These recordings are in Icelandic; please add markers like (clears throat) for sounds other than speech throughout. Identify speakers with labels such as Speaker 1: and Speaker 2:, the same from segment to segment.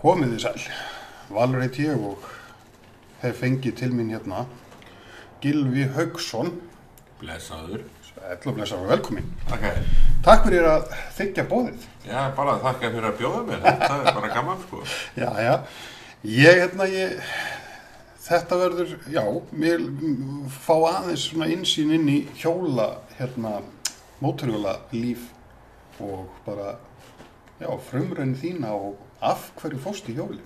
Speaker 1: Komið þið sæl, Valur eitt ég og hef fengið til mín hérna Gilvi Haugsson,
Speaker 2: Blessaður.
Speaker 1: ellaflesar og velkomin.
Speaker 2: Takk að
Speaker 1: Takk fyrir að þykja bóðið.
Speaker 2: Já, bara þakka fyrir að bjóða mér. Þetta er bara gaman, sko.
Speaker 1: Já, já, ég hérna, ég, þetta verður, já, mér m- fá aðeins svona insýn inn í hjóla, hérna, móturhjóla líf og bara, já, frumrönn þína og af hverju fórst í hjóli.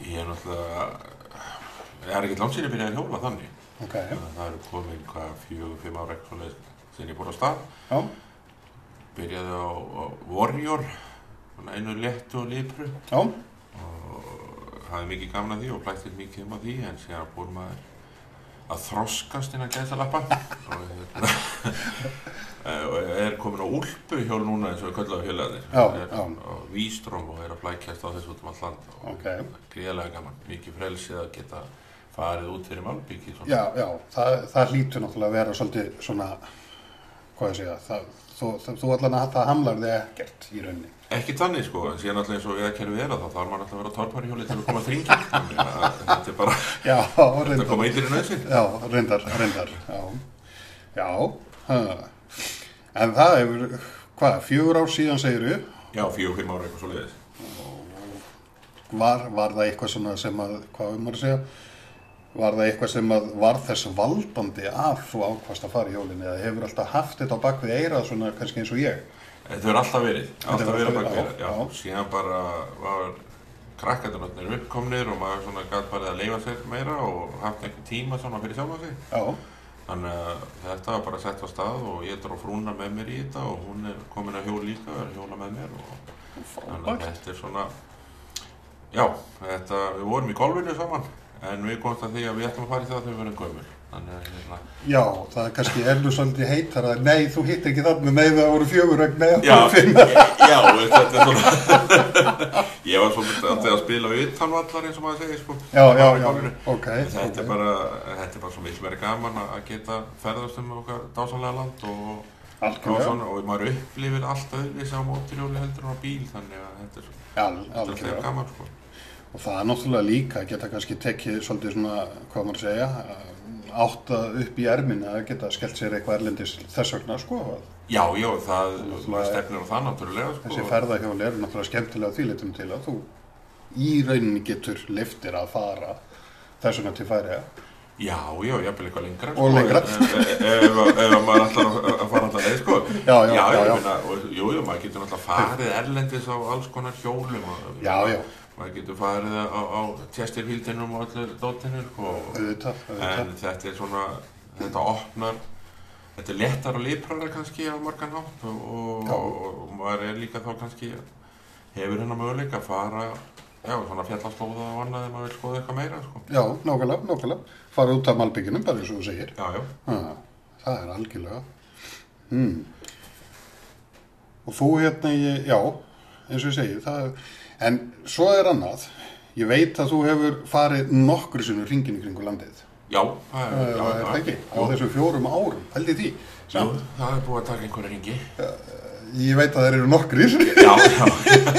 Speaker 2: Ég er náttúrulega, ég er ekkert langt sinni byrjað að hjóla þannig.
Speaker 1: Ok, já,
Speaker 2: Þannig að Það eru komin hvað fjögur, fimm ára eitthvað leið sinni ég búin á stað.
Speaker 1: já,
Speaker 2: Byrjaði á, á Warrior, svona einu léttu og lipru.
Speaker 1: já,
Speaker 2: Og hafði mikið gaman að því og blættið mikið um að því, en síðan búin maður að þroskast
Speaker 1: (laughs)
Speaker 2: innan gæðsalappa. og hérna, (laughs) eh, og er komin á úlpu hjól núna eins og við köllum á hjólaðir.
Speaker 1: Já,
Speaker 2: er,
Speaker 1: já.
Speaker 2: Og vístróm og er að flækjast á þessu út um allt land. Og
Speaker 1: ok.
Speaker 2: gríðarlega gaman, mikið frelsið að geta farið út fyrir Malbíki svona.
Speaker 1: Já, já, það, það hlýtur náttúrulega að vera svolítið svona, hvað ég segja, það, þú, þú, þú allan að það hamlar þig ekkert í rauninni.
Speaker 2: Ekki þannig sko, en síðan alltaf eins og veðakerfið er að þá þarf maður alltaf að vera á torparhjóli til að koma þringi þannig að þetta er
Speaker 1: (laughs)
Speaker 2: bara
Speaker 1: Já,
Speaker 2: að
Speaker 1: reyndar,
Speaker 2: koma yndir í nöðsinn
Speaker 1: já, reyndar, reyndar, já, já, ha. en það hefur, hvað, fjögur ár síðan segiru,
Speaker 2: Já, fjögur, fimm ára eitthvað svo leiðis
Speaker 1: var, var það eitthvað svona sem að, hvað um að segja, var það eitthvað sem að var þess valdandi að þú ákvast að fara í hjólinni eða hefur alltaf haft þetta á bakvið eirað svona kannski eins og ég?
Speaker 2: Þetta er Eh, alltaf verið, alltaf
Speaker 1: hefur
Speaker 2: verið
Speaker 1: alltaf
Speaker 2: að baka
Speaker 1: verið,
Speaker 2: verið
Speaker 1: já,
Speaker 2: Já,
Speaker 1: já.
Speaker 2: síðan bara var krakkatarnarnir uppkomnir og maður svona gæt bara að leifa sér meira og haft einhvern tíma svona fyrir sjálfa sig
Speaker 1: Já,
Speaker 2: Þannig að þetta var bara sett á stað og ég dró frúna með mér í þetta og hún er komin að hjól líka og er að hjóla með mér og Þannig að
Speaker 1: frábært.
Speaker 2: þetta er svona, já, þetta, við vorum í golfinu saman, en við komst að því að við ætlum að fara í það þegar við verðum gömul. Þannig að hérna,
Speaker 1: Já, það er kannski ennú svolítið heitar að nei, þú hitt ekki þarna, nei það voru fjögur vegna, nei það
Speaker 2: já,
Speaker 1: voru fimm.
Speaker 2: já, veist, þetta er svona, (laughs) ég var svolítið alltaf að spila utanvallar eins og maður segir, sko.
Speaker 1: Já, já,
Speaker 2: Bara í
Speaker 1: já,
Speaker 2: golfinu.
Speaker 1: ok.
Speaker 2: En Þetta
Speaker 1: ok.
Speaker 2: er bara, þetta er bara svo miklu verið gaman að að geta ferðast um okkar dásanlega land og, og,
Speaker 1: Algjörlega,
Speaker 2: svona, og maður upplifir allt öðruvísi á móturjóli heldur en á bíl, þannig að þetta er svo,
Speaker 1: al,
Speaker 2: þetta er alltaf
Speaker 1: algjörlega.
Speaker 2: gaman, sko.
Speaker 1: Og það er náttúrulega líka að geta kannski tekið svolítið svona, hvað maður að segja, að átta upp í ermina að geta skellt sér eitthvað erlendis þess vegna, sko. að
Speaker 2: Já, já, það,
Speaker 1: Náttúrulega-
Speaker 2: maður stefnir á það náttúrulega, sko.
Speaker 1: Þessi ferðahjóli eru náttúrulega skemmtilega þýlitum til að þú í rauninni getur liftir að fara þess vegna til færiða.
Speaker 2: Já, já, jafnvel eitthvað lengra sko.
Speaker 1: Og lengra.
Speaker 2: Ef, ef, ef, ef maður ætlar að, að fara alltaf leið sko
Speaker 1: Já, já,
Speaker 2: já,
Speaker 1: já,
Speaker 2: ég
Speaker 1: já.
Speaker 2: meina, og, Jú, jú, maður getur náttúrulega farið erlendis á alls konar hjólum og-
Speaker 1: Já, já,
Speaker 2: Maður getur farið á, á tjestirhildinum og allir dóttinir sko
Speaker 1: auðvitað, auðvitað.
Speaker 2: En þetta er svona, þetta opnar Þetta er léttar og liprara kannski á margan hátt og, og,
Speaker 1: Já.
Speaker 2: og maður er líka þá kannski hefur hennar möguleika að fara Já, svona fjallaslóða og annað ef maður vil skoða eitthvað meira sko
Speaker 1: Já, nákvæmlega, nákvæmlega. Fara út af malbygginum, bara eins og þú segir.
Speaker 2: Já, já
Speaker 1: Ha, það er algjörlega. Hmm. Og þú hérna, ég, já, eins og ég segi, það er, en svo er annað, ég veit að þú hefur farið nokkru sinnur ringin í kringu landið.
Speaker 2: Já, það
Speaker 1: Það
Speaker 2: er,
Speaker 1: er
Speaker 2: já,
Speaker 1: það ekki, á
Speaker 2: Jú,
Speaker 1: þessum fjórum árum, held ég því.
Speaker 2: jú,
Speaker 1: Samt,
Speaker 2: það er búið að taka einhverja ringi.
Speaker 1: ég veit að þeir eru nokkrir. (laughs)
Speaker 2: Já, já.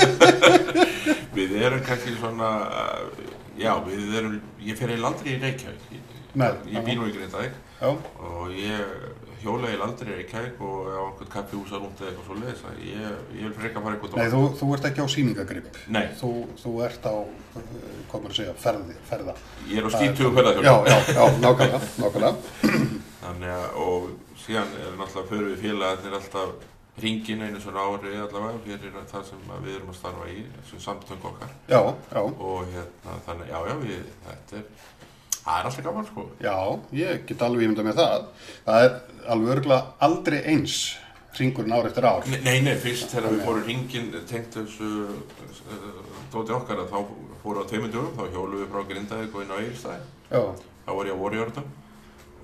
Speaker 2: (laughs) við erum kannski svona, uh, já, við erum, ég fer eiginlega aldrei í Reykjavík. Ég-
Speaker 1: Nei, já.
Speaker 2: Ég býr nú í Grindavík
Speaker 1: já,
Speaker 2: og ég hjóla eiginlega aldrei í Reykjavík og á einhvern kaffi húsa rúnt eða eitthvað svo leiðis að ég, ég vil freka fara eitthvað
Speaker 1: nei, þú, þú ert ekki á sýningagrip.
Speaker 2: Nei,
Speaker 1: Þú, þú ert á, uh, hvað maður að segja, ferði, ferða.
Speaker 2: ég er á
Speaker 1: Það er-
Speaker 2: skýtugu hverðarhjóla.
Speaker 1: Já, já, já, nákvæmlega, nákvæmlega.
Speaker 2: Þannig að, og síðan er náttúrulega fyrir við félagarnir alltaf ringin einu svona ári allavega fyrir það sem að við erum að starfa í, þessum samtöng okkar.
Speaker 1: Já, já.
Speaker 2: og hérna þannig, já já við, þetta er það er alltaf gaman sko
Speaker 1: Já, ég get alveg ímynda með það. Það er alveg örgulega aldrei eins hringurinn ár eftir ár.
Speaker 2: Nei, nei, nei, fyrst þegar við fórum hringin tengt þessu uh, dóti okkar að þá fórum við á tveimundugum þá hjólum við frá Grindavík og inn á Egilstæð
Speaker 1: Já.
Speaker 2: þá var ég á Vorjörnum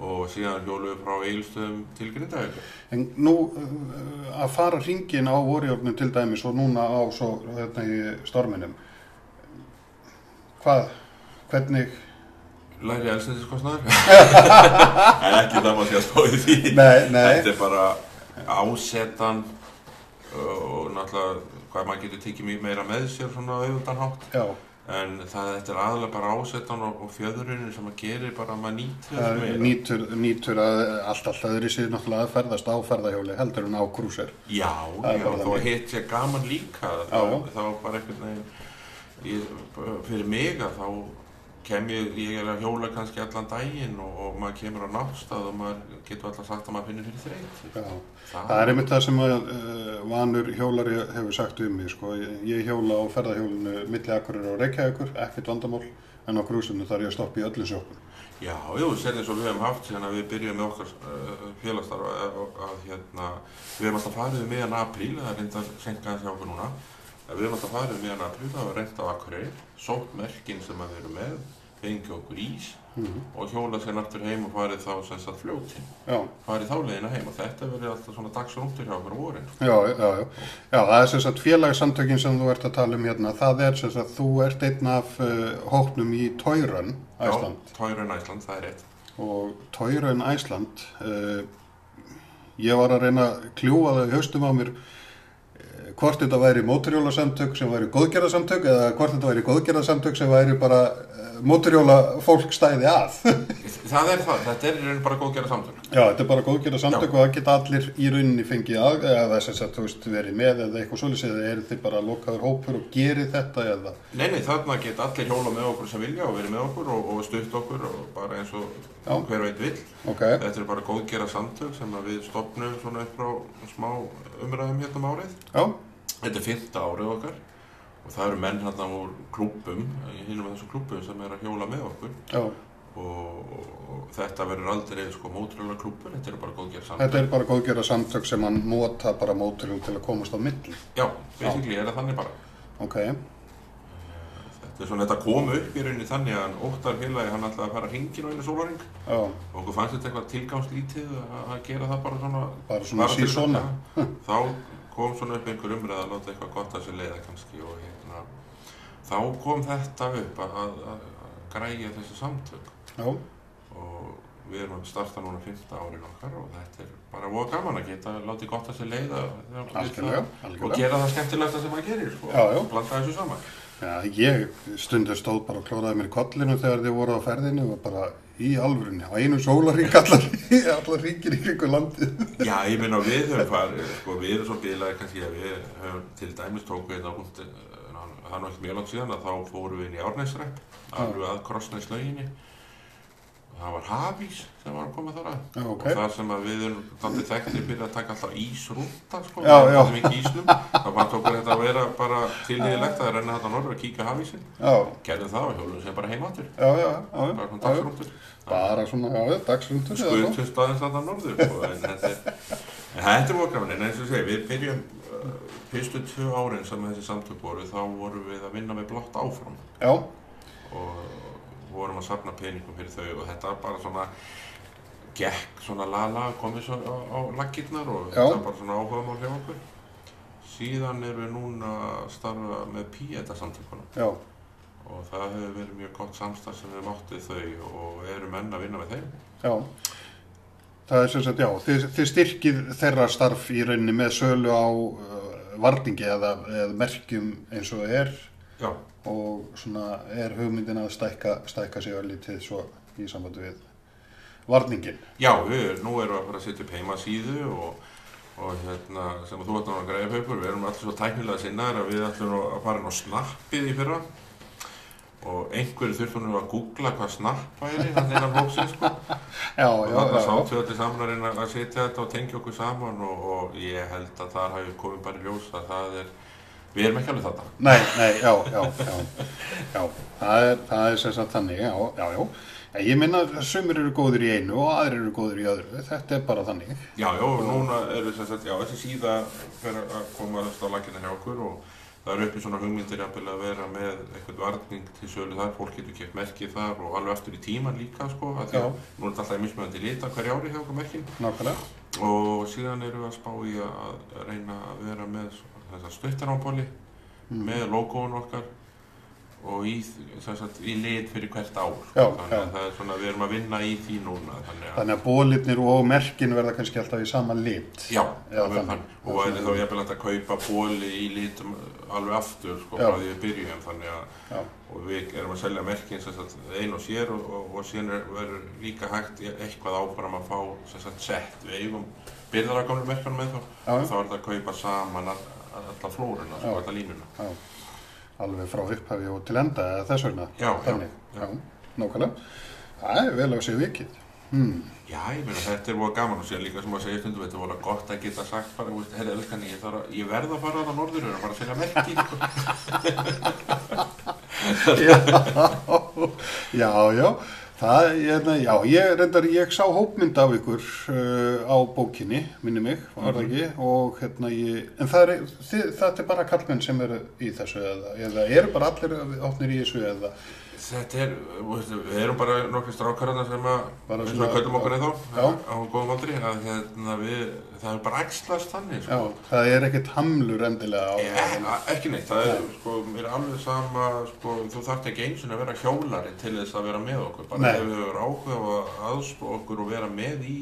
Speaker 2: og síðan hjólum við frá Egilstöðum til Grindavík
Speaker 1: En nú uh, að fara hringin á vorjórnum til dæmis og núna á svo, þetta, í storminum, hvað, hvernig,
Speaker 2: Læri elsendiskostnaður (laughs) En ekki það maður sé að spá í því
Speaker 1: Nei, nei.
Speaker 2: Þetta er bara ásetan uh, eh, og náttúrulega hvað maður getur tekið mjög meira með sér svona auðvitaðnátt
Speaker 1: já,
Speaker 2: en það, þetta er aðalega bara ásettan og, og fjöðurinn sem að gerir bara að maður nýtir
Speaker 1: það
Speaker 2: meira.
Speaker 1: nýtur, nýtur að allt alltaf öðru sér náttúrulega að ferðast á ferðahjóli heldur en á krúsir.
Speaker 2: Já,
Speaker 1: Það er
Speaker 2: já,
Speaker 1: bara
Speaker 2: þó
Speaker 1: þannig.
Speaker 2: að hitt sé gaman líka þá,
Speaker 1: Já, já.
Speaker 2: þá bara einhvern veginn ég, fyrir mig að þá kem ég, ég er að hjóla kannski allan daginn og, og maður kemur á náttstað og maður getur alltaf sagt að maður finnir fyrir þreyt
Speaker 1: Já.
Speaker 2: það,
Speaker 1: Það er einmitt það sem að, uh, vanur hjólari hefur sagt um mig, sko. Ég- Ég hjóla á ferðahjólinu milli akkurir og reykjaðukur, ekkert vandamál, en á grúsinu þarf ég að stoppa í öllum sjókum.
Speaker 2: Já, jú, sér eins og við hefum haft síðan að við byrjum með okkar uh, félagstarf að, að hérna, við hefum alltaf farið um meðan apríl, það er reynda senka aðeins hjá okkur núna að við hefum alltaf farið um meðan apríl, það var reynt á Akureyri sótt merkin sem að við erum með fengi okkur ís og hjólað sér náttúr heim og farið þá sem sagt fljótin
Speaker 1: Já,
Speaker 2: farið þá leiðina heim og þetta verið alltaf svona dagsrúntur hjá okkur á vorin
Speaker 1: já, já, já. Já, það er sem sagt félagsamtökin sem þú ert að tala um hérna. Það er sem sagt, þú ert einn af uh, hóknum í Tóirön, Æsland.
Speaker 2: Tórun Æsland, það er rétt
Speaker 1: og Tóirun Æsland uh, ég var að reyna að kljúa það í haustum á mér eh, hvort þetta væri móturjólasamtök sem væri góðgerðasamtök eða hvort þetta væri góðgerðasamtök sem væri bara móturjóla fólk stæði að (laughs) já,
Speaker 2: Það er það, þetta er í raun bara góð gera samtök
Speaker 1: þetta er bara góðgerðasamtök og það geta allir í rauninni fengið að eða þess að þú veist verið með eða eitthvað svolítið eða eru þið bara lokaður hópur og gerið þetta eða
Speaker 2: Nei, nei, þarna get allir hjóla með okkur sem vilja og verið með okkur og, og stutt okkur og bara eins og
Speaker 1: Já.
Speaker 2: hver og einn vill.
Speaker 1: ok,
Speaker 2: Þetta er bara góðgera samtök sem að við stopnum svona upp frá smá umræðum hérna um árið.
Speaker 1: já,
Speaker 2: Þetta er fyrta árið okkar og það eru menn hérna úr klúbbum, hinnum með þessum klúbbum sem er að hjóla með okkur
Speaker 1: já
Speaker 2: og, og þetta verður aldrei sko mótröla klúbbur, þetta eru bara góðgera samtök.
Speaker 1: þetta er bara góðgerðasamtök sem hann nota bara móturjól til að komast á milli
Speaker 2: Já, basically er það þannig bara.
Speaker 1: ok,
Speaker 2: Þetta er svona, þetta kom upp í rauninni þannig að óttar félagi hann ætlaði að fara hringin á einu sólaring
Speaker 1: já
Speaker 2: og okkur fannst þetta eitthvað tilgangslítið að að gera það bara svona
Speaker 1: Bara svona
Speaker 2: til-
Speaker 1: sísona.
Speaker 2: Já, þá kom svona upp einhver umræð að láta eitthvað gott að sér leiða kannski og hérna þá kom þetta upp að, að, að, að græja þessi samtök
Speaker 1: Já,
Speaker 2: og við erum að starta núna 15 árin okkar og þetta er bara voða gaman að geta látið gott að sér leiða þegar maður vill
Speaker 1: algjörlega,
Speaker 2: það og
Speaker 1: algjörlega.
Speaker 2: gera það skemmtilegsta sem maður gerir sko,
Speaker 1: Já, já.
Speaker 2: og blanda þessu saman
Speaker 1: Já, ég stundur stóð bara og klóraði mér í kollinu þegar þið voru á ferðinu og bara í alvörunni á einu sólarík allar, (laughs) allar ríkir í kringu landið.
Speaker 2: Já, ég meina við höfum farið, sko, við erum svo bilaði kannski að við höfum til dæmis tóku hérna einn á rúnt, það er nú ekki mjög langt síðan að þá fórum við inn í Árnæsrepp, alveg að Krossnæslauginni, og það var Hafís sem var að koma þar að,
Speaker 1: Já, ok.
Speaker 2: og það sem að við erum daldið þekktir fyrir að taka alltaf ísrúta, sko,
Speaker 1: Já, já.
Speaker 2: sem ekki ísnum, þá bara tókur þetta að vera bara tilíðilegt að renna þetta norður og kíka Hafísinn,
Speaker 1: Já,
Speaker 2: gerðum það og hjólum sem bara heimáttur,
Speaker 1: já, já, já,
Speaker 2: bara svona
Speaker 1: já, já.
Speaker 2: dagsrúntur.
Speaker 1: Bara svona, já, já, dagsrundur eða svo.
Speaker 2: skutust aðeins að það norður sko, en þetta er, en þetta er vokraminn en eins og ég segi, við byrjum uh, fyrstu tvö árin sem þessi samtök voru þá vorum við að vinna með blott áfram
Speaker 1: Já,
Speaker 2: og vorum að safna peningum fyrir þau og þetta bara svona gekk svona lala komið svo á, á laggirnar og
Speaker 1: Já.
Speaker 2: þetta var bara svona áhugamál hjá okkur síðan erum við núna að starfa með P.E.T.A. samtökunum
Speaker 1: já,
Speaker 2: og það hefur verið mjög gott samstarf sem við máttið þau og erum enn að vinna með þeim
Speaker 1: já. Það er sem sagt, já, þið, þið styrkið þeirra starf í rauninni með sölu á uh, varningi eða, eða merkjum eins og er
Speaker 2: Já,
Speaker 1: og svona er hugmyndin að stækka, stækka sig örlítið svo í sambandi við varningin.
Speaker 2: Já, við, nú erum við að fara að setja upp heimasíðu og, og hérna, sem að þú ætlum að greiða paupur, við erum allir svo tæknilega sinnaðir að við ætlum að fara inn á snappið í fyrra og einhverju þurftum nú að googla hvað snapp væri, þannig innan hópsins sko
Speaker 1: Já,
Speaker 2: og
Speaker 1: já,
Speaker 2: þannig
Speaker 1: já,
Speaker 2: að
Speaker 1: já,
Speaker 2: sátum við allir saman að reyna að setja þetta og tengja okkur saman og, og ég held að þar hafi komið bara í ljós að það er, við erum ekki alveg þetta
Speaker 1: nei, nei, já, já, já, já, það er, það er sem sagt þannig, já, já, já, En ég minna að sumir eru góðir í einu og aðrir eru góðir í öðru, þetta er bara þannig,
Speaker 2: Já, já, og núna er þess að, já, þessi síða fer að koma aðeins á lakina hjá okkur og það eru uppi svona hugmyndir jafnvel að vera með eitthvað varning til sölu þar, fólk getur keft merkið þar og alveg aftur í tíman líka, sko, að því
Speaker 1: Já.
Speaker 2: að nú er þetta alltaf í mismunandi lita hverja ári hjá okkur merkin
Speaker 1: nákvæmlega,
Speaker 2: og síðan erum við að spá í að
Speaker 1: Mm.
Speaker 2: reyna að vera með þessar stuttaránbóli með logoðun okkar og í, sem sagt, í lit fyrir hvert ár
Speaker 1: Já,
Speaker 2: þannig að
Speaker 1: já.
Speaker 2: það er svona, við erum að vinna í því núna þannig að,
Speaker 1: Þannig að bólitnir og merkin verða kannski alltaf í sama lit.
Speaker 2: já,
Speaker 1: Já,
Speaker 2: það verður
Speaker 1: þannig.
Speaker 2: þannig. og það er þá jafnvel hægt að kaupa bóli í litum alveg aftur sko,
Speaker 1: Já.
Speaker 2: frá því við byrjum þannig að
Speaker 1: Já,
Speaker 2: og við erum að selja merkin sem sagt, ein og sér og, og, og síðan er- verður líka hægt í- eitthvað áfram að fá sem sagt, sett við eigum byrðar að gamlu merkanum með þá
Speaker 1: Já.
Speaker 2: og þá er þetta að kaupa saman all, alla flóruna, sko,
Speaker 1: Já.
Speaker 2: alla línuna
Speaker 1: já. Alveg frá upphafi og til enda eða þess vegna.
Speaker 2: Já, já,
Speaker 1: Þannig. Já,
Speaker 2: já.
Speaker 1: nákvæmlega. Það er vel á sig vikið. Hmm.
Speaker 2: Já, ég meina þetta er búið gaman og síðan líka sem að segja stundum þetta er búið gott að geta sagt bara, veist, herri, elskan, ég, þarf að, ég verð að fara að norður og fara að selja merki sko.
Speaker 1: já, já, já. Það, ég, na, já, ég reyndar, ég sá hópmynd af ykkur uh, á bókinni, minni mig, var það ekki, og hérna ég, en það er, þið, þetta er bara kallmenn sem eru í þessu eða, eða eru bara allir opnir í þessu eða,
Speaker 2: Þetta er, eh, veist, við erum bara nokkri strákarana sem að,
Speaker 1: Bara
Speaker 2: eins og
Speaker 1: svona-
Speaker 2: við köllum okkur eða
Speaker 1: Já.
Speaker 2: á góðum aldri, að hérna, við, það er bara æxlast þannig
Speaker 1: já,
Speaker 2: sko.
Speaker 1: það er ekkert hamlur endilega á,
Speaker 2: Ég- e- Ekki neitt, það er, sko, mér er alveg sama, sko, þú þarft ekki eins og að vera hjólari til þess að vera með okkur, bara
Speaker 1: Nei.
Speaker 2: ef við erum áhuga á að aðstofa okkur og vera með í,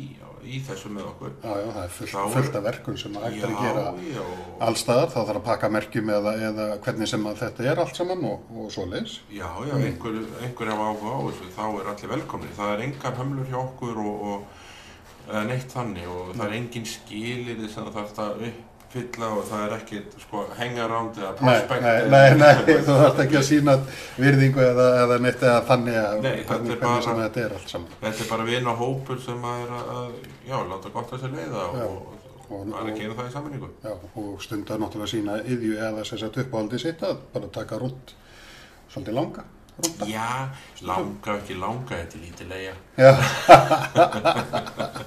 Speaker 2: í þessu með okkur.
Speaker 1: já, já, það er fullt,
Speaker 2: Þá er-
Speaker 1: fullt af verkun sem hægt er að gera
Speaker 2: já,
Speaker 1: allstaðar, þá þarf að pakka merkjum eða, eða hvernig sem að þetta er allt saman og, og svoleiðis.
Speaker 2: já, já,
Speaker 1: Mm.
Speaker 2: einhver, einhver hafa áhuga á þessu, þá er allir velkomni, það er engar hömlur hjá okkur og, og eða neitt þannig og það er engin skilirði sem það þarf að uppfylla og það er ekkit, sko, hengaránd eða
Speaker 1: Nei,
Speaker 2: prospekt.
Speaker 1: nei,
Speaker 2: eða-
Speaker 1: nei, nei, þú þarft ekki að sína virðingu eða, eða neitt eða þannig að
Speaker 2: Nei, þetta er
Speaker 1: hvernig,
Speaker 2: bara-
Speaker 1: hvernig sem þetta er allt saman.
Speaker 2: Þetta er bara vina hópur sem að er að, að já, láta gott að sér leiða
Speaker 1: Já.
Speaker 2: og, og,
Speaker 1: Og-
Speaker 2: og bara
Speaker 1: og-
Speaker 2: gera það í sammenningu.
Speaker 1: Já, og stundar náttúrulega sína yðju eða sem sagt uppáhaldi sitt að bara taka rúnt, svolítið langa rúnta.
Speaker 2: Já, langa ekki langa, þetta er lítið leiða.
Speaker 1: Já, (laughs)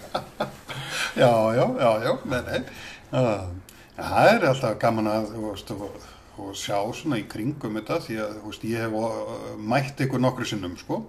Speaker 1: já, já, já, já, nei, nei. Ah, Það er alltaf gaman að, þú veist, og, og sjá svona í kringum þetta því að, þú veist, ég hef uh, mætt ykkur nokkru sinnum, sko.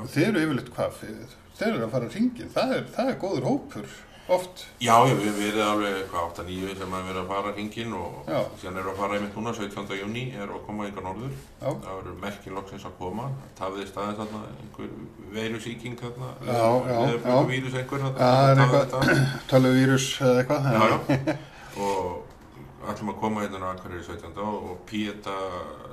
Speaker 1: Og þeir eru yfirleitt hvað, þeir, þeir eru að fara að ringin, það er, það er góður hópur, oft.
Speaker 2: Já, já, við erum verið alveg hvað, 8-9 sem að vera að fara hringin og
Speaker 1: Já.
Speaker 2: síðan eru að fara einmitt núna, 17. júni, eru að koma ykkur norður.
Speaker 1: Já.
Speaker 2: Það eru merkin loksins að koma, tafði staðið þarna einhver veirusíking þarna,
Speaker 1: Já, já, já.
Speaker 2: vírus einhver þarna.
Speaker 1: Það er
Speaker 2: tafði þetta.
Speaker 1: eitthvað, tölvuvírus eða (laughs) eitthvað.
Speaker 2: Já, já. Og ætlum að koma hérna á Akureyri 17. og og Píeta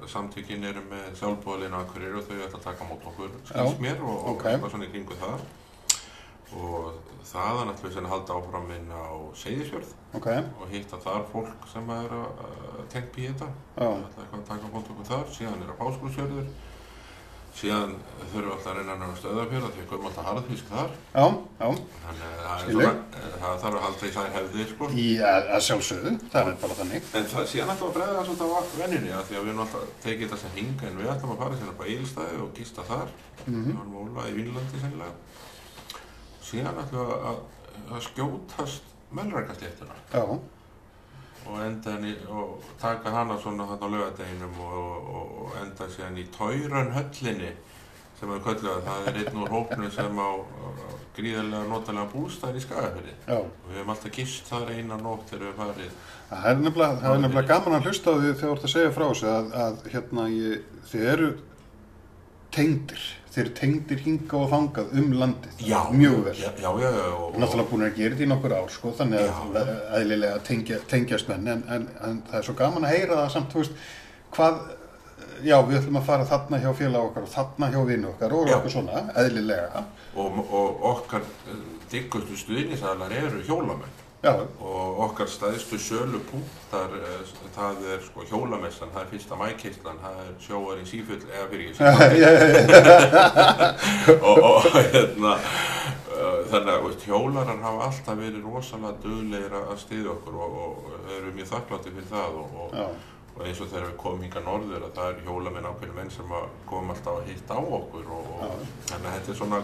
Speaker 2: samtökin eru með sjálfbúðalinn á Akureyri og þau ætla að taka mót okkur, skilst
Speaker 1: Já,
Speaker 2: mér, og
Speaker 1: ok.
Speaker 2: okay. eitthvað svona í kringu það. Og þaðan ætlum við síðan að halda áfram inn á Seyðisfjörð
Speaker 1: Ok,
Speaker 2: og hitta þar fólk sem er að að tengt Píeta.
Speaker 1: já,
Speaker 2: Það ætla eitthvað að taka mót okkur þar, síðan er að Páskursfjörður. Síðan þurfum við alltaf að reyna að ná stöðafjörða því við komum alltaf harðfisk þar.
Speaker 1: já, já,
Speaker 2: Þannig að það er
Speaker 1: Skilur.
Speaker 2: svona- eh, það þarf að halda í þær hefðir sko.
Speaker 1: í að, að sjálfsögðu, það er bara þannig.
Speaker 2: En það síðan ætlum við að bregða svolítið á venninni að því að við erum alltaf tekið þetta sem hinga en við ætlum að fara sérna bara ílstæði og gista þar
Speaker 1: Mm
Speaker 2: við varum ólað í Vínlandi sennilega síðan ætlum við að, að skjótast melrækastjættuna
Speaker 1: Já,
Speaker 2: og enda henni og taka hana svona þarna á laugardeginum og, og, og enda síðan í Tauran höllinni sem við kölluðum það er einn úr hópnu sem á, á, á gríðarlega notalega bústæðin í Skagafyrði
Speaker 1: já,
Speaker 2: og við hefum alltaf gist þar eina nótt þegar við farið
Speaker 1: það er nefnilega, það er nefnilega gaman að hlusta á því þegar þú ert að segja frá þessu að, að hérna, ég, þið eru tengdir, þið eru tengdir hinga og þangað um landið.
Speaker 2: Já,
Speaker 1: Mjög vel.
Speaker 2: já, já, já, já og,
Speaker 1: Náttúrulega búin að gera þetta í nokkur ár, sko, þannig
Speaker 2: Já.
Speaker 1: að já. eðlilega tengja, tengjast menn, en, en, en það er svo gaman að heyra það samt, þú veist, hvað, já, við ætlum að fara þarna hjá félag okkar og þarna hjá vinnu okkar og
Speaker 2: Já.
Speaker 1: okkur svona, eðlilega,
Speaker 2: og, og okkar diggustu stuðnisæðlar eru hjólamenn
Speaker 1: já,
Speaker 2: og okkar staðistu sölu punktar það er sko hjólamessan, það er fyrsta mækistlan það er sjóar í sífull eða fyrir
Speaker 1: (laughs)
Speaker 2: ekki sífull (laughs) og, og hérna eh, þannig að veist, hjólarar hafa alltaf verið rosalega duglegir að styðja okkur og, og eru mjög þakklátti fyrir það og, og,
Speaker 1: já,
Speaker 2: og eins og þegar við komum hinga norður að það er hjólamenn ákveðinu menn sem að komum alltaf að hitta á okkur og, og þannig að þetta er svona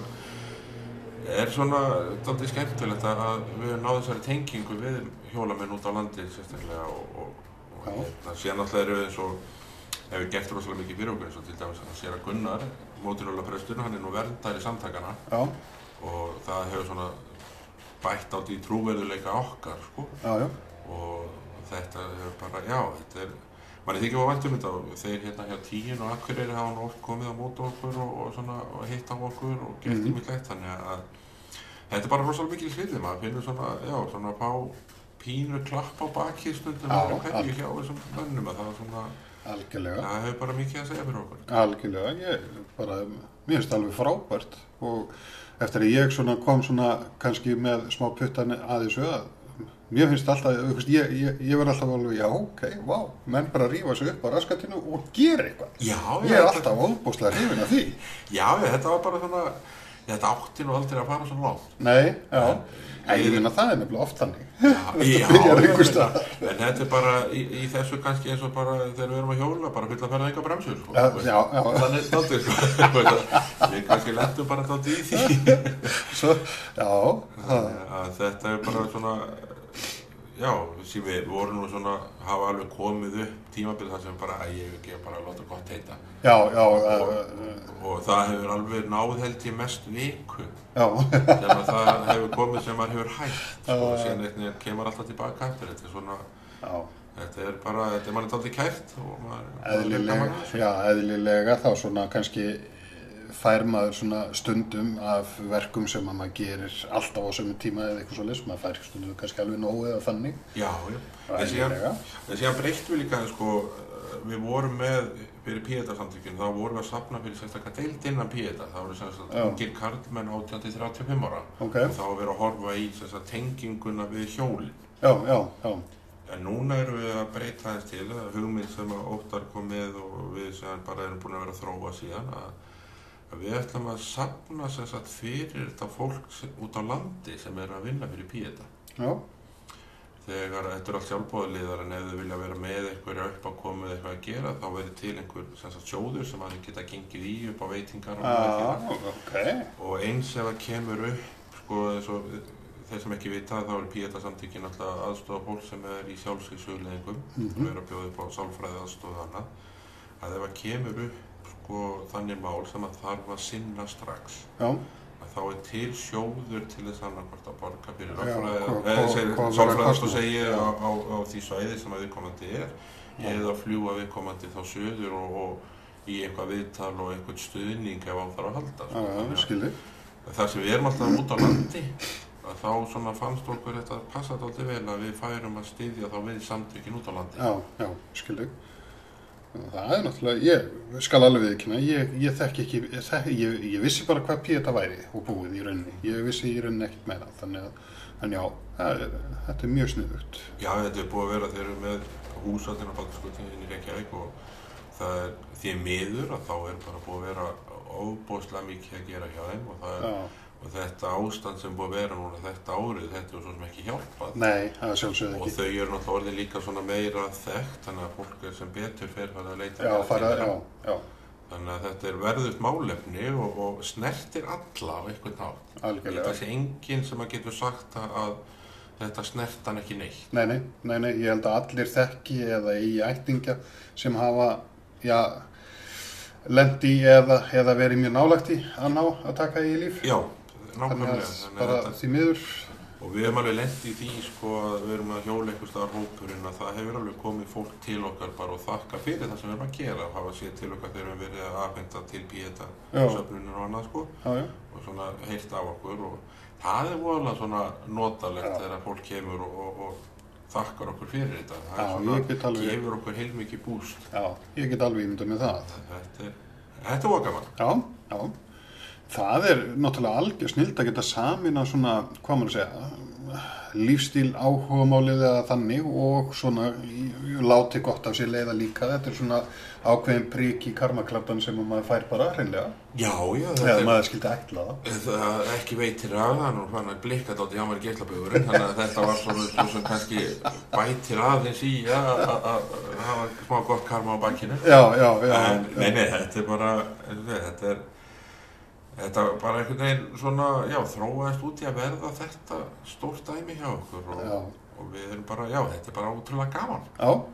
Speaker 2: er svona daldið skemmtilegt að að við höfum náðu þessari tengingu við hjólamenn út á landi sérstaklega og, og,
Speaker 1: Já.
Speaker 2: og hérna, síðan alltaf eru við eins og hefur gert rosalega mikið fyrir okkur eins og til dæmis að sér að Gunnar mótinulega prestur, hann er nú verndari samtakana
Speaker 1: já,
Speaker 2: og það hefur svona bætt átt í trúverðuleika okkar sko
Speaker 1: já, já,
Speaker 2: og þetta er bara, já, þetta er manni þykir að væntum þetta og þeir hérna hjá tíin og akkurýri hafa nú oft komið á móta okkur og, og svona og hitta á okkur og gert
Speaker 1: Mhm.
Speaker 2: mm. ymmiklegt þannig að þetta er bara rosalega mikil hlýði maður finnur svona, já, svona að fá pínu klapp á baki stundum
Speaker 1: Já,
Speaker 2: og hverju hjá þessum mönnum að það er svona,
Speaker 1: algjörlega,
Speaker 2: það hefur bara mikið að segja fyrir okkur
Speaker 1: algjörlega, ég bara, mér finnst það alveg frábært og eftir að ég svona kom svona kannski með smá puttan að þessu að mér finnst alltaf, þú veist, ég, ég, ég verð alltaf alveg, já, ok, vá, menn bara rífa sig upp á raskatinu og gera eitthvað.
Speaker 2: Já,
Speaker 1: Ég er alltaf óbúslega hrifin af því.
Speaker 2: já, já, þetta var bara svona, þetta átti nú aldrei að fara svona langt
Speaker 1: Nei, já, en ég finna það er nefnilega oft þannig. (laughs)
Speaker 2: Já,
Speaker 1: Byrjar
Speaker 2: já,
Speaker 1: einhvers
Speaker 2: ég
Speaker 1: staðar.
Speaker 2: meina, en þetta er bara í, í þessu kannski eins og bara þegar við erum að hjóla bara fyll að ferða enga bremsur sko.
Speaker 1: Já, já, já,
Speaker 2: þannig dálítið sko. (laughs) við kannski lettum bara dálítið í því
Speaker 1: svo, já, það,
Speaker 2: Þannig að þetta er bara svona já, sem við vorum nú svona hafa alveg komið upp tímabil þar sem bara að ég ekki bara að láta gott heita
Speaker 1: já, já,
Speaker 2: og,
Speaker 1: já,
Speaker 2: og það hefur alveg náð held ég mest viku
Speaker 1: já,
Speaker 2: þegar að það hefur komið sem maður hefur hægt sko,
Speaker 1: Já, já.
Speaker 2: og síðan einhvern veginn kemur alltaf tilbaka eftir þetta er svona
Speaker 1: já.
Speaker 2: Þetta er bara, þetta er mann eitthvað kæft og maður maður er gaman
Speaker 1: eðlilega,
Speaker 2: að þessu.
Speaker 1: já, eðlilega þá svona kannski fær maður svona stundum af verkum sem að maður gerir alltaf á sömu tíma eða eitthvað svo leys, maður fær stundum kannski alveg nógu eða þannig.
Speaker 2: Já, já. En síðan,
Speaker 1: Eðlilega.
Speaker 2: en síðan breyttum við líka, sko, við vorum með fyrir Píetarsamtökjum, þá vorum við að safna fyrir sérstaklega deild innan E Píetar. Það voru
Speaker 1: Já.
Speaker 2: sérstaklega ungir karlmenn 18-35 ára.
Speaker 1: Ok,
Speaker 2: Og þá var verið að horfa í sérstaklega tenginguna við hjólinn.
Speaker 1: já, já, já,
Speaker 2: En núna erum við að breyta þess til, það er hugmynd sem að óttar kom með og við sem bara erum búin að vera að þróa síðan að, að við ætlum að safna sem sagt fyrir þetta fólk sem, út á landi sem er að vinna fyrir píeta.
Speaker 1: já,
Speaker 2: Þegar þetta er allt sjálfbóðliðar en ef þau vilja vera með einhverja upp að koma eða eitthvað að gera þá verður til einhver sem sagt sjóður sem að þau geta gengið í upp á veitingar og annað
Speaker 1: já,
Speaker 2: félag
Speaker 1: Ah, ok,
Speaker 2: og eins ef það kemur upp sko, eins og þeir sem ekki vita þá er E Píeta samtíkin alltaf aðstofa fólk sem er í sjálfsvísugleðingum
Speaker 1: Mhm.
Speaker 2: og er að bjóða upp á sálfræði aðstofa hana að ef það kemur upp sko, þannig mál sem að þarf að sinna strax
Speaker 1: já,
Speaker 2: að þá er til sjóður til þess annarkvort að borga fyrir
Speaker 1: Já, hvað-
Speaker 2: lögfræði- eh,
Speaker 1: hvað-
Speaker 2: segir-
Speaker 1: hvað-
Speaker 2: sálfræðast og
Speaker 1: kostnað?
Speaker 2: segi
Speaker 1: Já.
Speaker 2: á, á, á því svæði sem að viðkomandi er
Speaker 1: Já.
Speaker 2: eða fljúa viðkomandi þá söður og, og í eitthvað viðtal og eitthvað stuðning ef á þarf að halda sko.
Speaker 1: já,
Speaker 2: Þannig
Speaker 1: já,
Speaker 2: að-
Speaker 1: skilji,
Speaker 2: þar sem við erum alltaf út á landi að þá svona fannst okkur þetta að passa alltaf vel að við færum að styðja þá við samtökin út á landi
Speaker 1: já, já, skilji. Það er náttúrulega, ég skal alveg viðkynna, ég, ég þekki ekki, ég, þekki, ég, ég vissi bara hvað píeta væri og búið í rauninni, ég vissi í rauninni ekkert meira, þannig að, en já, það er, þetta er mjög sniðugt.
Speaker 2: Já, þetta er búið að vera þeir eru með húsallin á Baltaskutinni inn í Reykjavík og það er því miður að þá er bara búið að vera óbóðslega mikið að gera hjá þeim og, það er,
Speaker 1: Já,
Speaker 2: og þetta ástand sem búið að vera núna þetta árið, þetta er svo sem ekki hjálpað
Speaker 1: nei, það er sjálfsögð
Speaker 2: og
Speaker 1: ekki.
Speaker 2: þau eru náttúrulega orðin líka svona meira þekkt þannig að fólk er sem betur fer farið að leita
Speaker 1: Já,
Speaker 2: meira til
Speaker 1: fara,
Speaker 2: þeirra.
Speaker 1: já, já,
Speaker 2: Þannig að þetta er verðugt málefni og, og snertir alla á einhvern nátt. Ég held
Speaker 1: algjörlega.
Speaker 2: að sé enginn sem að getur sagt að, að þetta snert hann ekki neitt.
Speaker 1: Nei, nei, nei, nei, ég held að allir þekki eða í ættingja sem hafa, já, lendi eða, eða verið mjög nálægt í að ná að taka í líf.
Speaker 2: Já,
Speaker 1: Þannig
Speaker 2: nákvæmlega.
Speaker 1: að
Speaker 2: Þannig að
Speaker 1: bara
Speaker 2: þetta,
Speaker 1: því miður,
Speaker 2: og við erum alveg lent í því sko að við erum að hjóla einhvers staðar hópurinn að það hefur alveg komið fólk til okkar bara og þakka fyrir það sem við erum að gera og hafa séð til okkar þegar við erum verið að afhenda til píeta
Speaker 1: Já.
Speaker 2: söfnunir og annað sko
Speaker 1: já, já,
Speaker 2: og svona heyrt af okkur og það er voðalega svona notalegt
Speaker 1: Já.
Speaker 2: þegar fólk kemur og, og, og þakkar okkur fyrir þetta það
Speaker 1: Já,
Speaker 2: er svona,
Speaker 1: ég get alveg-
Speaker 2: gefur okkur heilmikið búst
Speaker 1: já, ég get alveg ímynda með það.
Speaker 2: þetta er, þetta er okkar mann
Speaker 1: Já, já, það er náttúrulega algjör snild að geta samina svona, hvað maður að segja, lífstíl áhugamálið eða þannig og svona í- láti gott af sér leiða líka. Þetta er svona ákveðin prik í karmaklappan sem að maður fær bara hreinlega.
Speaker 2: já, já, þetta
Speaker 1: Eða
Speaker 2: er
Speaker 1: maður skildi ætla það.
Speaker 2: Það ekki veitir af það, nú fann að blikka þátti hjá mér geislabögurinn, þannig að þetta var svona svo sem kannski bætir aðeins í að- að að- að hafa smá gott karma á bakkinu.
Speaker 1: Já, já, já.
Speaker 2: En, nei, nei, þetta er bara, eins og segja, þetta er, þetta er bara einhvern veginn svona, já, þróaðist út í að verða þetta stórt dæmi hjá okkur
Speaker 1: Já.
Speaker 2: og, og við erum bara, já, þetta er bara ótrúlega gaman.
Speaker 1: Já,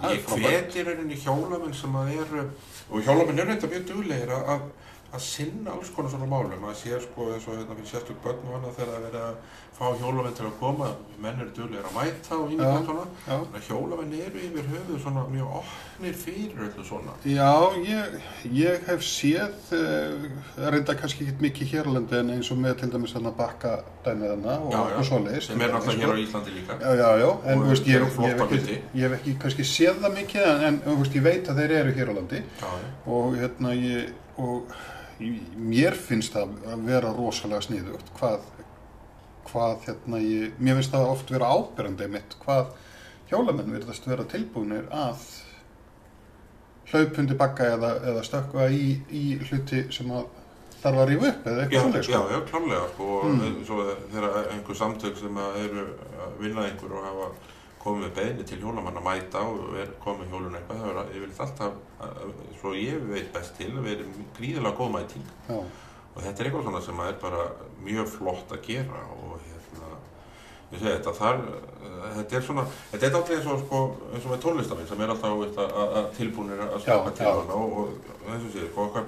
Speaker 1: það er
Speaker 2: Ég
Speaker 1: frábært.
Speaker 2: hveti rauninni hjólamenn sem að eru, og hjólamenn eru þetta mjög duglegir að, að, að sinna alls konar svona málum maður sér sko eins og hérna fyrir sérstök börn og annað þegar það er verið að fá hjólavenn til að koma menn eru duglegir að mæta og
Speaker 1: Já.
Speaker 2: ímynda svona
Speaker 1: já.
Speaker 2: þannig að hjólavenn eru yfir höfuð svona mjög opnir fyrir öllu svona
Speaker 1: Já, ég, ég hef séð, uh, reynda kannski ekkert mikið hérlendi en eins og með til dæmis þarna bakka dæmið hana og,
Speaker 2: Já, já.
Speaker 1: og svoleiðis.
Speaker 2: sem er náttúrulega hér á Íslandi líka
Speaker 1: Já, já, já, en
Speaker 2: Og
Speaker 1: þú veist, ég,
Speaker 2: eru
Speaker 1: ég, hef
Speaker 2: flottar
Speaker 1: ekki,
Speaker 2: hluti.
Speaker 1: ég hef ekki kannski séð það mikið en, en þú veist, ég veit að þeir eru hér á landi
Speaker 2: já, já.
Speaker 1: og hérna ég, og ég- mér finnst það að vera rosalega sniðugt hvað, hvað hérna ég, mér finnst það oft vera ábyrrandi mitt hvað hjólamenn virðast vera tilbúinir að hlaupundi bakka eða, eða stökkva í, í hluti sem að þarf að rífa upp eða
Speaker 2: Já,
Speaker 1: eitthvað svoleið
Speaker 2: já,
Speaker 1: sko.
Speaker 2: já, klálega sko,
Speaker 1: Mm.
Speaker 2: mm. svo þegar einhver samtök sem að eru að vinna einhver og hafa komið með beðni til hjólamann að mæta og er komið hjólun eitthvað, það er yfirleitt alltaf, að- að- svo ég veit best til, að vera gríðilega góð mæting
Speaker 1: Já,
Speaker 2: og þetta er eitthvað svona sem að er bara mjög flott að gera og hérna, ég segi þetta þar, eh, þetta er svona, þetta er alltaf eins og sko, eins og með tónlistaminn sem er alltaf veist, að, að- að tilbúinir að skapa
Speaker 1: Já,
Speaker 2: til
Speaker 1: já.
Speaker 2: hana og, og, og eins og sé, sko, okkar,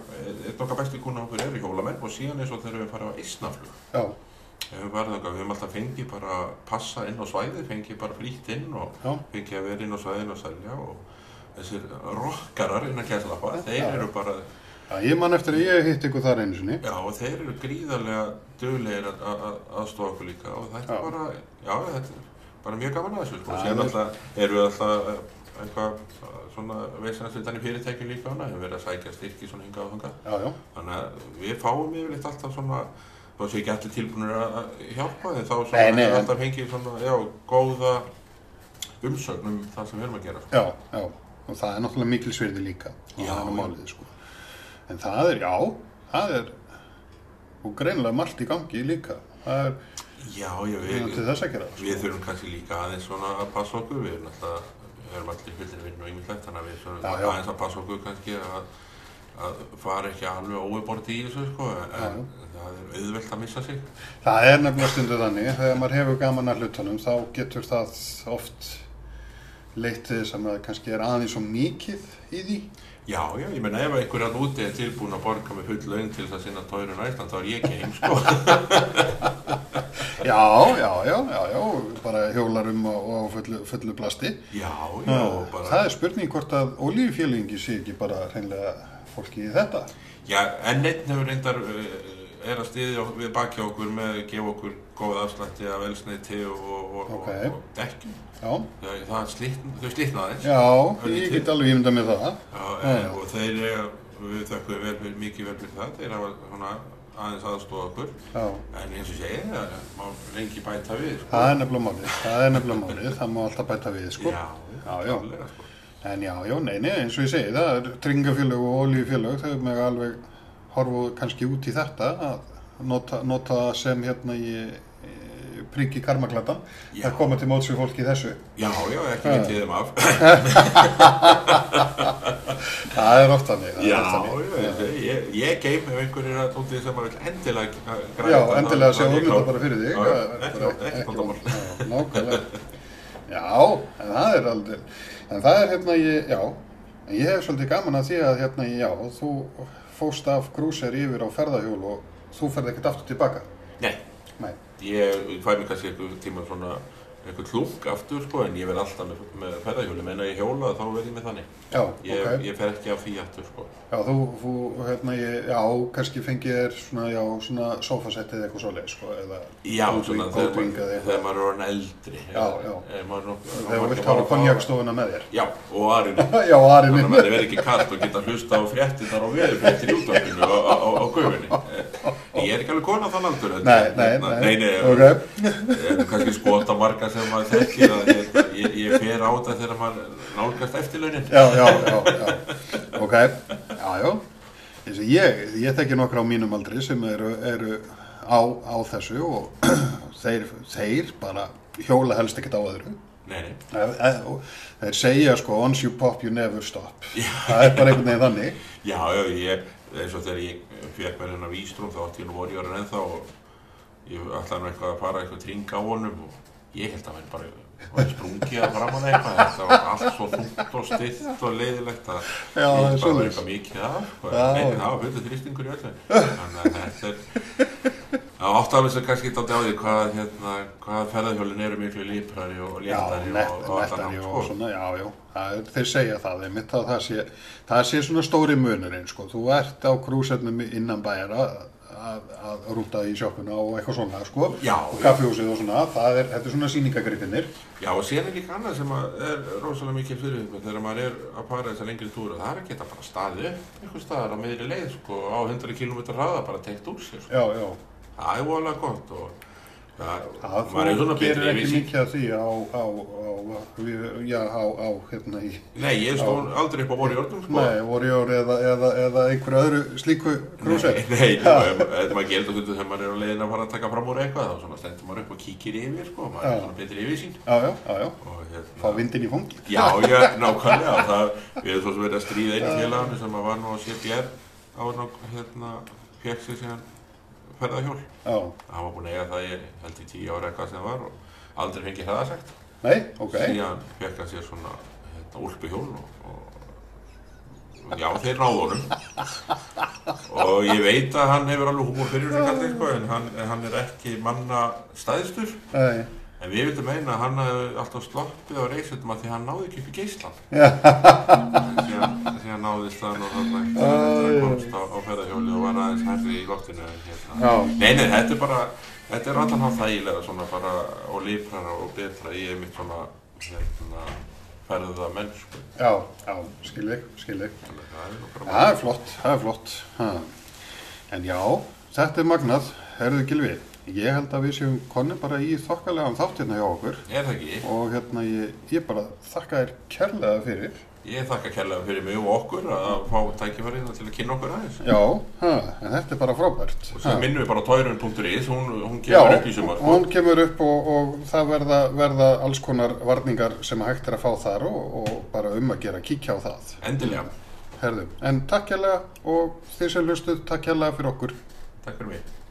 Speaker 2: eitt okkar besti kuna okkur er í hjólamenn og síðan eins og þegar við farið á eisnaflug
Speaker 1: já,
Speaker 2: Við höfum farið þangað, við höfum alltaf fengið bara að passa inn á svæðið, fengið bara frítt inn og
Speaker 1: já,
Speaker 2: fengið að vera inn á svæðinu að selja og þessir rokkarar innan gæslappa, þeir
Speaker 1: Já.
Speaker 2: eru bara,
Speaker 1: já, ég man eftir að ég hitt ykkur þar einu sinni
Speaker 2: já og þeir eru gríðarlega duglegir að- að að- aðstofa okkur líka og þetta
Speaker 1: Já.
Speaker 2: er bara, já þetta er bara mjög gaman að þessu sko,
Speaker 1: Það
Speaker 2: síðan
Speaker 1: er-
Speaker 2: alltaf eru við alltaf eh, eitthvað eh, svona veisnast utan í fyrirtækjum líka og við verðum að sækja styrki svona hingað og þangað.
Speaker 1: Já, já,
Speaker 2: Þannig að við fáum yfirleitt alltaf svona, þá séu ekki allir tilbúinir að að hjálpa þeim, þá svona
Speaker 1: Nei, nei,
Speaker 2: hefur
Speaker 1: en-
Speaker 2: alltaf fengið svona, já, góða umsögn um það sem við erum að gera. sko.
Speaker 1: já, já, og það er náttúrulega mikilsverði líka og
Speaker 2: Já,
Speaker 1: það er nú
Speaker 2: já.
Speaker 1: málið, sko. En það er, já, það er, og greinilega margt í gangi líka, það er,
Speaker 2: Já, já,
Speaker 1: það er
Speaker 2: við,
Speaker 1: til þess að gera,
Speaker 2: við
Speaker 1: sko.
Speaker 2: þurfum kannski líka aðeins svona að passa okkur, við erum alltaf, við erum allir fullir vinn og ymmislegt, þannig að við svona
Speaker 1: Já, já.
Speaker 2: aðeins að passa okkur kannski að, að fara ekki alveg óuborti í þessu, sko, en
Speaker 1: Já, já.
Speaker 2: það er auðvelt að missa sig.
Speaker 1: Það er nefnilega stundu þannig, þegar maður hefur gaman að hlutunum, þá getur það oft leitt til þess að maður kannski er aðeins og mikið í því.
Speaker 2: Já, já, ég meina ef einhver hann úti er tilbúin að borga með full laun til þess að sinna tórun á Ísland, þá er ég
Speaker 1: (laughs)
Speaker 2: geim, sko.
Speaker 1: Já, já, já, já, já, bara hjólarum og, og fullu, fullu plasti.
Speaker 2: Já, já, og bara...
Speaker 1: Það er spurning hvort að olífjölingi sé ekki bara hreinlega fólki í þetta.
Speaker 2: Já, en einn hefur reyndar eh, er að styðja ok- við baki okkur með að gefa okkur góð afslætti af elsneiti og, og, og,
Speaker 1: Ok.
Speaker 2: og, og dekkjum.
Speaker 1: Já.
Speaker 2: Það, það slitn, þau slitna aðeins.
Speaker 1: Já, ég get alveg ímynda með það.
Speaker 2: Já,
Speaker 1: Já,
Speaker 2: en,
Speaker 1: já.
Speaker 2: og þeir eiga, við þökkum vel, fyrir- mikið vel fyrir það, þeir hafa svona aðeins aðstofa okkur.
Speaker 1: Já.
Speaker 2: En eins og segi, það má lengi bæta við, sko.
Speaker 1: Það er nefnilega málið, það er nefnilega málið, það má alltaf bæta við, sko.
Speaker 2: Já,
Speaker 1: Já, já.
Speaker 2: klárlega, sko.
Speaker 1: En já, já, nei, nei, eins og ég segi, það er tryggingafélög og olíufélög, þau með alveg horfa kannski út í þetta að nota, nota það sem hérna í e, priggi karmaglatan,
Speaker 2: Já.
Speaker 1: að koma til móts við fólki í þessu.
Speaker 2: Já, já, ekki
Speaker 1: Já.
Speaker 2: vitið þeim af.
Speaker 1: Það er oft þannig, það
Speaker 2: (laughs) Já,
Speaker 1: er oft
Speaker 2: já,
Speaker 1: þannig.
Speaker 2: ég, ég, ég geim ef einhver er að tóti sem að vil endilega græða.
Speaker 1: Já,
Speaker 2: það,
Speaker 1: endilega
Speaker 2: þá-
Speaker 1: sjá
Speaker 2: þá er ég
Speaker 1: ummynda
Speaker 2: klár.
Speaker 1: bara fyrir þig. Eh.
Speaker 2: Já,
Speaker 1: það er
Speaker 2: ekki-
Speaker 1: bara
Speaker 2: ekki vandamál.
Speaker 1: Já,
Speaker 2: (laughs)
Speaker 1: Nákvæmlega. Já, en það er aldrei, en það er hérna ég, já, en ég hef svolítið gaman að því að hérna ég, já, þú fóst af grúsir yfir á ferðahjól og þú ferð ekkert aftur tilbaka.
Speaker 2: Nei,
Speaker 1: Nei,
Speaker 2: ég fæ mér kannski einhver tíma svona einhver klúk aftur sko en ég verð alltaf með, með ferðahjóli menn að ég hjóla þá verð ég með þannig
Speaker 1: já,
Speaker 2: ég,
Speaker 1: ok,
Speaker 2: ég fer ekki af því aftur sko
Speaker 1: já, þú, þú, hérna ég, já, kannski fengið þér svona, já, svona sofasettið eða eitthvað svoleið, sko, eða
Speaker 2: Já,
Speaker 1: Goldwing-
Speaker 2: svona þegar,
Speaker 1: Goldwing
Speaker 2: maður-
Speaker 1: eða eitthvað,
Speaker 2: þegar maður er orðin eldri
Speaker 1: Já, já.
Speaker 2: Ef maður er nokkuð-
Speaker 1: þegar þú
Speaker 2: maður
Speaker 1: vilt
Speaker 2: bara
Speaker 1: hafa
Speaker 2: fá-
Speaker 1: konjakstofuna með þér. (laughs)
Speaker 2: Já, og aðrinu
Speaker 1: Já, Arinn,
Speaker 2: Þannig að það verði ekki kallt og geta hlusta á fréttinnar og veðurfréttir í útvarpinu á, á, á, á gufinni. Ég er ekki alveg kona þann aldur. en-
Speaker 1: nei, nei,
Speaker 2: hérna,
Speaker 1: nei,
Speaker 2: nei, nei
Speaker 1: ok,
Speaker 2: en kannski skota marga sem maður þekkir að ég, ég, ég fer á þetta þegar maður nálgast eftirlaunin.
Speaker 1: já, já, já, já, ok, já, já. Þessi, Ég, ég þekki nokkra á mínum aldri sem eru, eru á, á þessu og (clears throat) þeir, þeir bara hjóla helst ekkert á öðru.
Speaker 2: Nei, nei.
Speaker 1: Ef- ef- og Þeir segja sko, once you pop you never stop. Það er bara einhvern veginn þannig.
Speaker 2: Já, já, ég, eins og þegar ég fekk mér hennar vístrúm þá átti ég nú orðjórin ennþá og ég ætlaði nú eitthvað að fara eitthvað tring á honum og ég held að hann væri bara og það sprungi að framan eitthvað þetta var allt svo þungt og stillt og leiðilegt að
Speaker 1: Já, það er
Speaker 2: það var
Speaker 1: svoleiðis.
Speaker 2: eitthvað mikið af sko.
Speaker 1: Já,
Speaker 2: Nei,
Speaker 1: já.
Speaker 2: það var fyrir þrýstingur í öllu þannig að þetta er það átt af þess að kannski þetta á því hvað, hérna, hvað ferðahjólin eru miklu líprari og
Speaker 1: Já,
Speaker 2: léttari
Speaker 1: net-
Speaker 2: og, og allan
Speaker 1: nettari
Speaker 2: hátt
Speaker 1: og
Speaker 2: sko.
Speaker 1: svona, já, já, það er, þeir segja það, einmitt að það sé, það sé svona stóri munurinn, sko, þú ert á krúsernum innan bæjar að, að, að rúta í sjoppuna og eitthvað svona, sko,
Speaker 2: Já,
Speaker 1: og
Speaker 2: já.
Speaker 1: kaffjósið og svona, það er, þetta er svona sýningagrifinir,
Speaker 2: Já, og síðan er líka annað sem að er rosalega mikið fyrir ykkur þegar maður er að para þessar lengri túra það er að geta bara staðið upp einhver staðar á meðri leið sko, á 100 km hraða bara teikt úr sér sko.
Speaker 1: já, já,
Speaker 2: það er voðalega gott og það,
Speaker 1: það
Speaker 2: maður er
Speaker 1: þú
Speaker 2: svona
Speaker 1: gerir
Speaker 2: betri
Speaker 1: ekki
Speaker 2: yfir sín
Speaker 1: mikið af því á, á, á, við- já, á, á, hérna í,
Speaker 2: Nei, ég stóð aldrei upp á voru jórnum sko
Speaker 1: nei, Warrior eða, eða, eða einhverju öðru slíku krúser,
Speaker 2: Nei, nei, þetta maður gerir þetta þegar maður er á leiðin að fara að taka fram úr eitthvað þá svona stendur maður upp og kíkir yfir sko maður
Speaker 1: Já.
Speaker 2: er svona betri yfir sín
Speaker 1: já, já, já, já,
Speaker 2: og
Speaker 1: fá
Speaker 2: hérna
Speaker 1: vindin í fóngi,
Speaker 2: Já, já, nákvæmlega, það, við hefum svo sem verið að stríða einu félaginu sem að var nú að sé gler á hann og hérna fekk sér síðan ferðahjól.
Speaker 1: já,
Speaker 2: Hann var búinn að eiga það í held í tíu ára eitthvað sem það var og aldrei fengið það að sagt.
Speaker 1: nei, ok,
Speaker 2: Síðan fekk hann sér svona hérna, úlpuhjól og, og já, þeir náðu honum. Og ég veit að hann hefur alveg húmur fyrir sig allir sko, en hann, en hann er ekki manna staðstur.
Speaker 1: nei,
Speaker 2: En við vildum meina að hann hafði alltaf sloppið á reisundum að því að hann náði ekki upp í
Speaker 1: (laughs)
Speaker 2: geislan. Síðan síðan náðist hann og þarna hann komst á, á ferðahjóli og var aðeins herri í loftinu. en Hérna.
Speaker 1: já,
Speaker 2: Nei, nei, þetta er bara, þetta er alltaf hann þægilega svona bara og lífrara og betra í einmitt svona hérna, ferða mennsku.
Speaker 1: Já, já, skilji, skilji.
Speaker 2: Þannig að það er nú bara...
Speaker 1: Það er flott, það er flott. Ha. En já, þetta er magnað, herðu Gilvi. Ég held að við séum konni bara í þokkalega þátt hérna hjá okkur
Speaker 2: Er það ekki?
Speaker 1: og hérna ég, ég bara þakka þér kærlega fyrir.
Speaker 2: Ég þakka kærlega fyrir mig og okkur að fá tækifærið til að kynna okkur aðeins.
Speaker 1: Já, ha, en þetta er bara frábært.
Speaker 2: Og
Speaker 1: Ha.
Speaker 2: sem minnum við bara á tærun.is, hún, hún
Speaker 1: Já,
Speaker 2: kemur upp í sumar. sko.
Speaker 1: hún kemur upp og, og það verða, verða alls konar varningar sem hægt er að fá þar og, og bara um að gera kíkja á það.
Speaker 2: Endilega.
Speaker 1: Herðu, en takk kærlega og þið sem hlustuð, takk kærlega fyrir okkur.
Speaker 2: Takk fyrir mig.